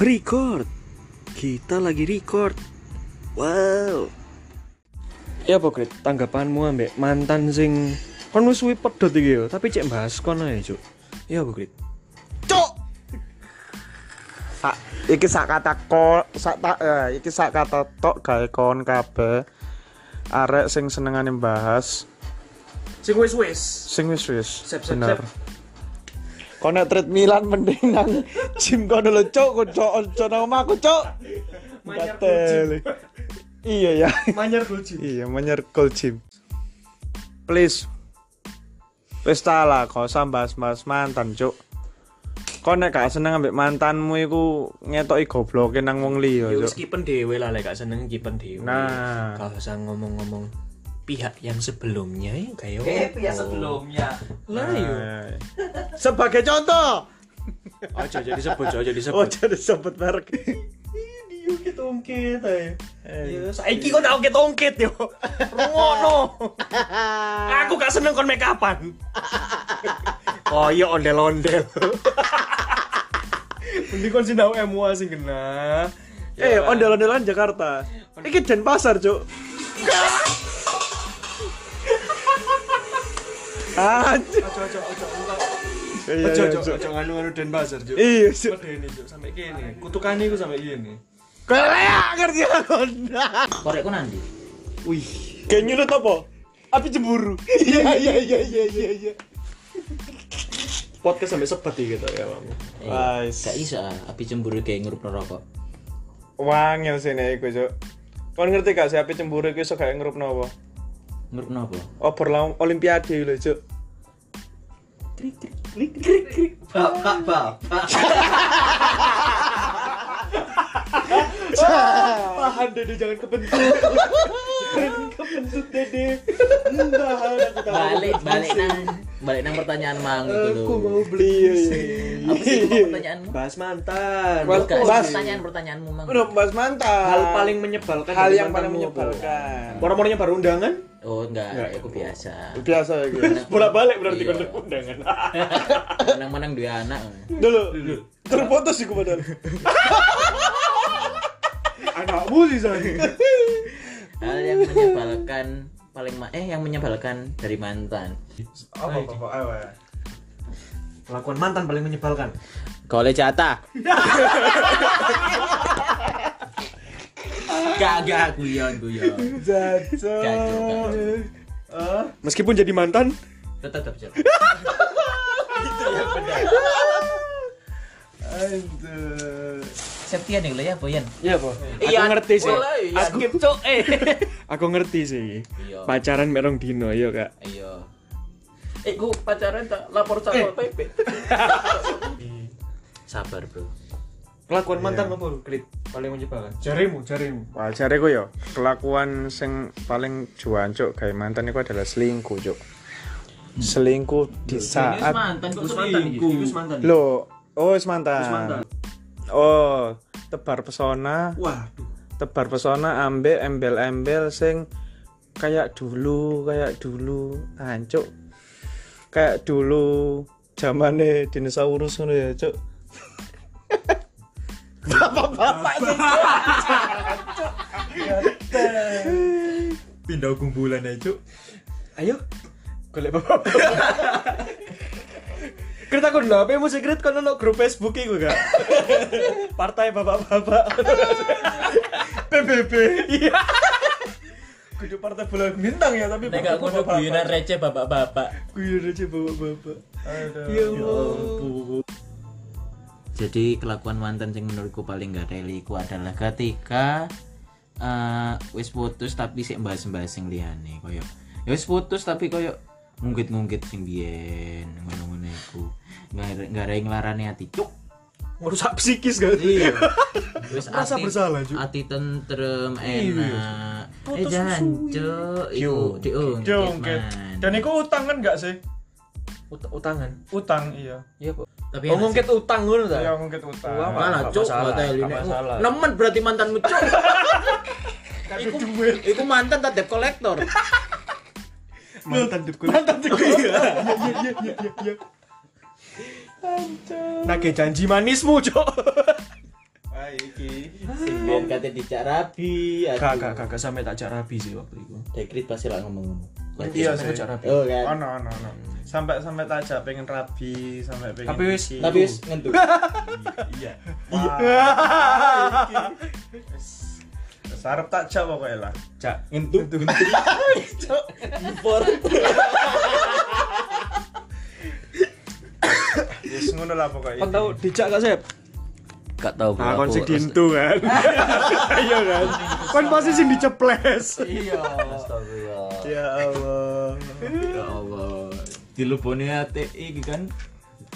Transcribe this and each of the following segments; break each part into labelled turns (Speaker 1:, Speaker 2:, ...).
Speaker 1: Record. Kita lagi record. Wow. Ya pokrit, tanggapanmu ambek mantan sing kon wis suwi pedot iki yo, tapi cek bahas kon ae, Cuk. Ya pokrit.
Speaker 2: cok sak iki sak kata ko sak tak eh, iki sak kata tok gawe kon kabeh arek sing senengane bahas
Speaker 3: Sing wis wis.
Speaker 2: sing wis wis
Speaker 3: Sep, sep,
Speaker 2: bener
Speaker 3: sep.
Speaker 2: kon nek treat Milan mending nang gym kono lho cok kon cok ojo nang omahku cok
Speaker 3: Manyar
Speaker 2: Gatel. iya ya
Speaker 3: Manyar goji.
Speaker 2: iya menyerkul gym please wis ta lah kok usah bahas-bahas mantan cuk kok nek gak seneng ambek mantanmu iku ngetoki gobloke nang wong liya
Speaker 3: Ya wis
Speaker 2: cuk
Speaker 3: kipen dhewe lah lek gak seneng kipen dhewe.
Speaker 2: Nah.
Speaker 3: Kalau usah ngomong-ngomong pihak yang sebelumnya ya kayak apa?
Speaker 4: sebelumnya
Speaker 3: Lah yo.
Speaker 2: Nah. sebagai contoh
Speaker 3: Aja jadi sebut, aja jadi
Speaker 2: oh
Speaker 3: sebut.
Speaker 2: jadi sobat merek
Speaker 3: Iya kita ungkit ae. Ya saiki kok tak ungkit-ungkit yo. Rungono. Aku gak seneng kon make upan. Koyo ondel-ondel. Mending kon sinau MUA sing kena.
Speaker 2: eh ondel-ondelan Jakarta iki Denpasar cuk Anjir.
Speaker 3: Ojo ojo ojo ojo.
Speaker 2: Iya,
Speaker 3: Ojo
Speaker 2: iya,
Speaker 3: ojo
Speaker 2: Cuk.
Speaker 3: ojo nganu nganu Denpasar Cuk.
Speaker 2: Iya, Cuk.
Speaker 3: Medeni Cuk sampai kene. Kutukane iku sampai kene.
Speaker 2: Korea ngerti aku.
Speaker 4: korekku nanti
Speaker 2: Wih. Kayak nyulut apa? Api cemburu. Iya iya iya iya iya iya.
Speaker 3: Podcast sampai sepet iki gitu ya, Bang.
Speaker 4: Eh,
Speaker 2: Wais.
Speaker 4: gak bisa ah, api cemburu kayak ngerup rokok
Speaker 2: Wangil sini iku, Cuk. Kon ngerti gak sih api cemburu iku iso gak ngerupno apa?
Speaker 4: ngerup apa
Speaker 2: Obor laung olimpiade lho, Cuk.
Speaker 4: bapak bapak
Speaker 3: Tahan Dede jangan kebentuk. jangan kebentuk Dede. Tahan aku
Speaker 4: balik balik nang balik nang pertanyaan mang itu dulu
Speaker 3: beli.
Speaker 4: apa sih itu pertanyaanmu
Speaker 3: Bahas mantan.
Speaker 2: Bahas-
Speaker 4: Bukan,
Speaker 2: bahas-
Speaker 4: pertanyaan pertanyaanmu mang
Speaker 2: Udah bahas mantan.
Speaker 3: Hal paling menyebalkan.
Speaker 2: hal
Speaker 3: dari
Speaker 2: yang paling
Speaker 3: mantanmu apa?
Speaker 2: menyebalkan.
Speaker 3: Moro-moronya baru undangan?
Speaker 4: oh enggak aku biasa
Speaker 2: Biasa ya gitu.
Speaker 3: Bolak-balik berarti
Speaker 4: Iya.
Speaker 3: kan undangan.
Speaker 4: menang-menang dua anak
Speaker 2: Dulu. Terputus iku padahal.
Speaker 3: Anakmu sih sana.
Speaker 4: hal yang menyebalkan paling ma- eh yang menyebalkan dari mantan
Speaker 2: Apa apa apa.
Speaker 3: Kelakuan mantan paling menyebalkan.
Speaker 4: Golek jatah. Gak gak guyon guyon. Gak,
Speaker 2: Jajan.
Speaker 4: gak.
Speaker 3: Meskipun jadi mantan,
Speaker 4: Tetap tetap jatah.
Speaker 2: Aduh.
Speaker 4: Septian yang layak boyan.
Speaker 3: Iya, Pak. Aku ngerti sih.
Speaker 4: Aku cok eh.
Speaker 3: Aku ngerti sih.
Speaker 4: Iya.
Speaker 3: Pacaran merong dino ya, Kak.
Speaker 4: Iya. Eh gua pacaran tak lapor sama
Speaker 3: Eh.
Speaker 4: PP. Sabar bro.
Speaker 3: Kelakuan mantan apa, Krit? Paling menyebalkan. Iya. Jarimu, jarimu.
Speaker 2: Wajar iku yo, kelakuan sing paling juan cuk gawe mantan iku adalah selingkuh cuk. Selingkuh di
Speaker 4: Ini
Speaker 2: saat
Speaker 4: mantan kok gitu? selingkuh.
Speaker 3: Wis mantan.
Speaker 2: lo oh wis mantan. Oh, tebar pesona,
Speaker 3: Waduh.
Speaker 2: tebar pesona ambek embel-embel sing kayak dulu, kayak dulu hancuk. Kayak dulu zamane dinosaurus ngono ya cuk.
Speaker 3: pindah kumpulan aja cuk ayo golek bapak Krit aku dulu, apa musik Krit kan ono grup Facebook iku gak? Partai bapak-bapak. PBB. Iya. Kudu partai bola bintang ya tapi
Speaker 4: Nek aku nunggu guyonan receh bapak-bapak.
Speaker 3: Guyur aja bapak-bapak.
Speaker 2: Aduh.
Speaker 3: Ya Allah.
Speaker 4: Jadi kelakuan mantan yang menurutku paling gak reliku adalah ketika eh wis putus tapi sik bahas-bahas sing liyane koyo ya wis putus tapi koyo ngungkit-ngungkit sing biyen ngono-ngono iku. Nggak nggak ada yang larane ati cuk.
Speaker 3: Merusak psikis gak?
Speaker 4: Iya. Wis
Speaker 3: Merasa bersalah, Cuk. Iya,
Speaker 4: Ati tentrem enak. Eh jangan cuk. Iku diungkit.
Speaker 2: Diungkit. Dan iku utang kan gak sih?
Speaker 3: Ut- utangan.
Speaker 2: Utang iya.
Speaker 3: Iya, Pak.
Speaker 4: Tapi
Speaker 3: Oh, ngungkit utang ngono ta?
Speaker 2: Iya ngungkit utang.
Speaker 3: Wah,
Speaker 4: Malah
Speaker 3: Gak
Speaker 4: cuk,
Speaker 3: masalah,
Speaker 4: gak teli
Speaker 3: gak
Speaker 4: nek.
Speaker 3: masalah.
Speaker 4: Nemen berarti mantanmu cuk. Iku iku mantan tak debt collector.
Speaker 3: mantan dukun mantan dukun iya iya iya iya iya iya nage janji manismu cok
Speaker 5: ae iki. Sing
Speaker 2: Eh.
Speaker 5: biyen kate dijak rabi. aduh.
Speaker 1: Kakak, kakak sampai tak jak rabi sih waktu itu.
Speaker 5: Dekrit pasti lak ngomong ngono.
Speaker 2: Iya
Speaker 1: Sampai
Speaker 2: sih.
Speaker 1: tak jak rabi.
Speaker 5: Oh kan.
Speaker 2: Ono ono ono. Sampai sampai tajak pengen rabi, sampai pengen.
Speaker 1: Tapi wis-
Speaker 2: iki.
Speaker 5: Tapi wis ngentuk.
Speaker 2: iya. Sarap tajak pokoknya lah.
Speaker 1: Jak.
Speaker 5: Ngentuk. Ngentuk. Cok. Impor.
Speaker 2: Wis ngono lah pokoknya.
Speaker 1: Kan tahu dijak gak Sep?
Speaker 3: Gak tau bro.
Speaker 2: Nah, kon
Speaker 3: aku-
Speaker 2: sing dintu kan. Iya kan. Kon pasti sing diceples.
Speaker 4: Iya.
Speaker 5: Astagfirullah.
Speaker 2: Ya Allah.
Speaker 4: Ya Allah. Dilebone ate iki kan.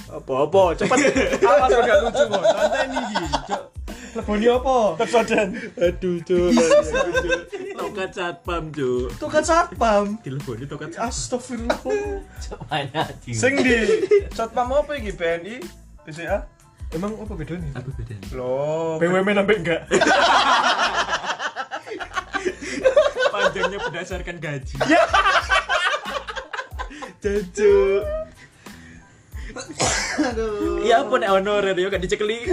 Speaker 2: Apa-apa, cepet. Awas kok gak lucu kok. Santai nih iki. Cok. Leboni
Speaker 3: Iya,
Speaker 2: apa? Tersodan. Aduh, Cok.
Speaker 4: Tokat satpam, Cuk.
Speaker 2: Itu kan satpam.
Speaker 4: Dilebone tokat satpam.
Speaker 2: Astagfirullah.
Speaker 4: Mana anjing?
Speaker 2: Sing di satpam apa iki BNI? BCA?
Speaker 1: Emang apa bedanya?
Speaker 4: Apa bedanya?
Speaker 2: Loh.
Speaker 1: BWM sampai enggak?
Speaker 4: Panjangnya berdasarkan gaji.
Speaker 2: Cuk.
Speaker 4: Iya apa nek honorer yo gak dicekeli.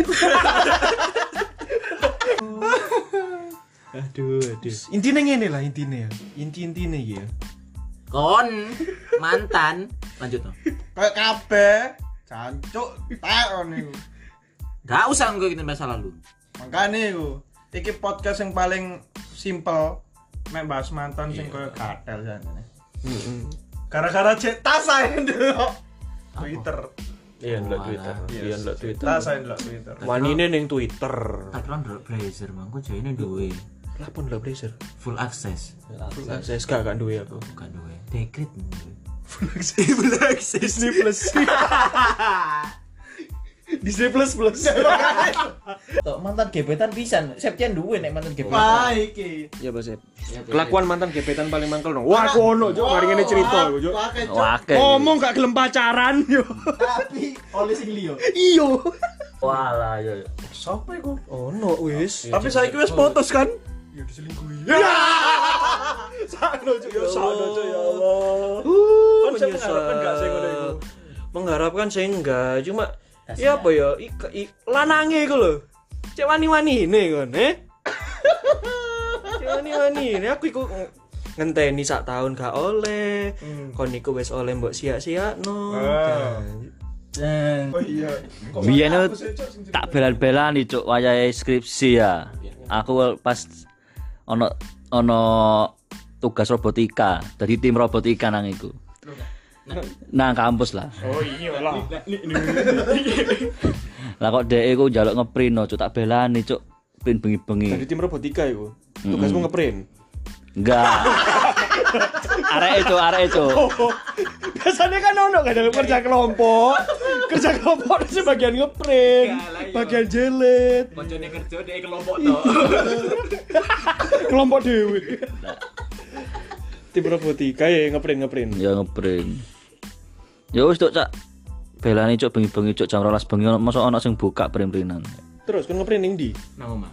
Speaker 4: aduh, aduh.
Speaker 1: Intinya ngene lah intinya ya. Inti-intinya gitu ya.
Speaker 4: Kon mantan lanjut no.
Speaker 2: Kayak kabeh. Cancuk tak ngono iku.
Speaker 4: Gak usah ngikutin masa lalu.
Speaker 2: Makane iku. Iki podcast yang paling simple mek bahas mantan sing koyo gatel jane. Gara-gara cek tas ae ndelok Twitter.
Speaker 3: Iya, ndelok
Speaker 4: Walah.
Speaker 3: Twitter.
Speaker 2: Yes.
Speaker 3: Iya, ndelok Twitter.
Speaker 2: Tas ae ndelok Twitter.
Speaker 3: Wanine ning Twitter.
Speaker 4: Aku kan dulu blazer, mang kok jane duwe
Speaker 1: Lah pun lah blazer.
Speaker 4: full access.
Speaker 3: Saya gak gak duwe aku.
Speaker 4: Bukan duwe. Dekret.
Speaker 1: Disney Plus. Disney Plus Plus.
Speaker 5: Tok mantan gebetan pisan. Septian duwe nek mantan gebetan.
Speaker 2: Wah,
Speaker 3: Ah,
Speaker 2: iki.
Speaker 1: Ya Pak Sep. Kelakuan mantan gebetan paling mangkel no. Wah, aku ono Cuk, mari ngene cerita aku Cuk.
Speaker 2: Pakai
Speaker 3: Wake.
Speaker 1: Ngomong gak gelem pacaran yo.
Speaker 5: Tapi oleh sing liyo.
Speaker 1: Iyo.
Speaker 3: Walah, yo. yo.
Speaker 2: sopo iku?
Speaker 1: Ono wis.
Speaker 2: Tapi saiki wis putus kan? Ya diselingkuhi. Ya. Sakno Cuk, ya Allah.
Speaker 1: Uh,
Speaker 2: Konsep mengharapkan gak sih ngono iku?
Speaker 3: Mengharapkan Kan saya enggak, cuma ya apa ya ik- ik- lanange iku lho. Cek wani-wani ini kon, eh. Cek wani-wani ini aku iku ng- ngenteni sak tahun gak oleh.
Speaker 1: Hmm.
Speaker 3: Kon iku wis oleh mbok sia-siakno.
Speaker 2: Ah.
Speaker 5: Dan
Speaker 2: Oh iya. Kok
Speaker 6: Biyen
Speaker 2: malah aku
Speaker 6: itu
Speaker 2: sih, Cuk, sing cerita?
Speaker 6: tak belan-belan nih cuk wayahe skripsi ya. Aku pas ono ono tugas robotika dari tim robotika nang iku. Nang kampus lah.
Speaker 2: Oh iya lah.
Speaker 6: Lah kok dhek iku njaluk ngeprint no, cuk tak belani cuk print bengi-bengi.
Speaker 1: Dari tim robotika iku. Tugasmu
Speaker 3: Hmm.
Speaker 1: ngeprint.
Speaker 6: Enggak. arek itu, arek e, itu.
Speaker 1: Biasanya kan ono kan
Speaker 3: Iya,
Speaker 1: dalam kerja kelompok. kerja kelompok itu bagian ngeprint,
Speaker 3: iya.
Speaker 1: bagian jelit,
Speaker 4: Koncone kerja dek kelompok to.
Speaker 1: kelompok dewi. tim robotika ya ngeprint ngeprint.
Speaker 6: Ya ngeprint. Ya wis cuk cak. Belani cuk bengi-bengi cuk jam 12 bengi ono- mosok ono sing buka print-printan.
Speaker 1: Terus kan ngeprint ning di.
Speaker 4: Nang omah.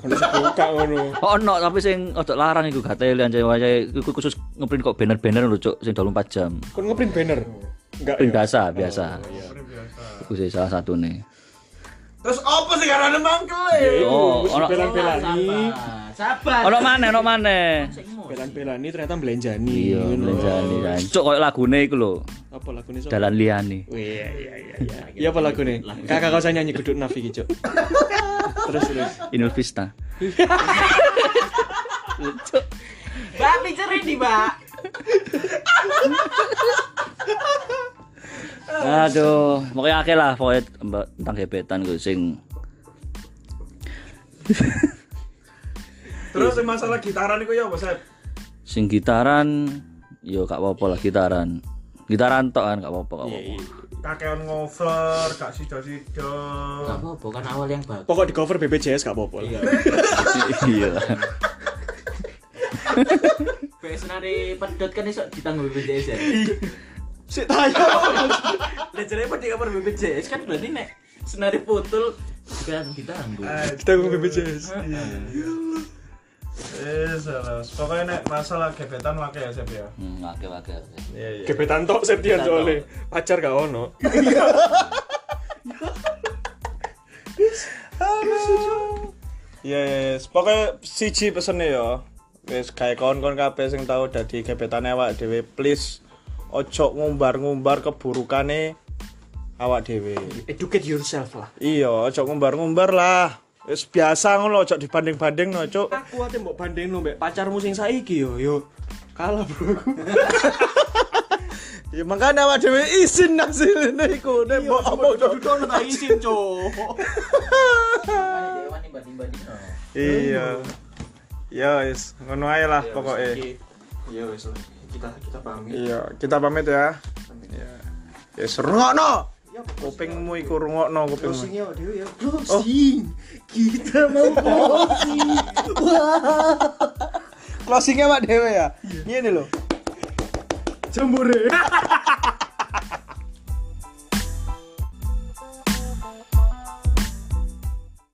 Speaker 1: Kalau buka ngono.
Speaker 6: Ono tapi sing ojo larang iku gatele anjay wayahe iku khusus ngeprint kok banner-banner lho cuk sing 24 jam.
Speaker 1: Kon ngeprint banner. Enggak.
Speaker 6: Print biasa, iya, biasa. Iku sih salah satune.
Speaker 2: Terus apa sih karena mangkel?
Speaker 6: Oh, ono
Speaker 4: iya,
Speaker 1: Belan-belani,
Speaker 4: Sabar.
Speaker 6: ono maneh, ono maneh.
Speaker 1: belan-belani ternyata belanjani.
Speaker 6: Iya,
Speaker 1: ngono.
Speaker 6: belanjani kan. Cuk koyo lagune iku lho,
Speaker 1: Apa lagune sapa?
Speaker 6: Dalan Liani.
Speaker 1: Iya iya iya iya. Iya apa lagune? Kakak kau saya nyanyi geduk nafi gitu. terus terus.
Speaker 6: Inul Vista.
Speaker 4: Mbak pikirin di, Mbak.
Speaker 6: Aduh, pokoknya akeh lah pokoknya temba- tentang gebetan gue sing
Speaker 2: Terus yang masalah gitaran itu ya apa, Sep?
Speaker 6: sing gitaran yo gak apa-apa lah gitaran. Gitaran tok kan gak apa-apa, gak apa-apa.
Speaker 2: Kakean ngover, gak sido-sido.
Speaker 4: Gak apa-apa kan awal yang bagus.
Speaker 1: Pokok di cover BPJS gak apa-apa. lah.
Speaker 6: Iya.
Speaker 4: Pesenare pedot kan iso ditanggung BPJS ya.
Speaker 1: Iya. Sik tayo.
Speaker 4: Lejernya pedot kamar BPJS kan berarti nek senari putul kan ditanggung.
Speaker 1: Kita ngomong BPJS.
Speaker 2: Eh, salah. Pokoknya nek masalah gebetan wae ya, Sep ya.
Speaker 6: Hmm, oke oke oke.
Speaker 2: Iya, iya.
Speaker 1: Gebetan tok Septian soalnya. Pacar gak ono.
Speaker 2: Yes, pokoknya siji pesennya ya. Wis gawe kon-kon kabeh sing tau dadi gebetane awak dhewe, please ojo ngumbar-ngumbar keburukane awak dhewe.
Speaker 3: Educate yourself lah.
Speaker 2: Iya, ojo ngumbar-ngumbar lah. Wis biasa ngono ojo dibanding-bandingno, Cuk.
Speaker 3: Aku ate mbok bandingno mbek pacarmu sing saiki yo yo kalah bro aku.
Speaker 2: Ya makanya awak dhewe isin hasilnya iku nek mbok omong Cuk.
Speaker 3: Dudono tak isin, Cuk.
Speaker 5: Dewan nimbang-nimbang no.
Speaker 2: Iya. Ya wis, ngono ae lah pokoke.
Speaker 3: Oke. Ya wes lah. Kita kita pahami.
Speaker 2: Iya, kita pamit ya. Iya. Ya yes, rungokno. Kupingmu iku rungokno kupingmu.
Speaker 3: Closingnya oh, Dewi ya. Closing. Kita mau closing.
Speaker 2: closingnya Pak Dewe ya? Gini loh
Speaker 3: Jembore.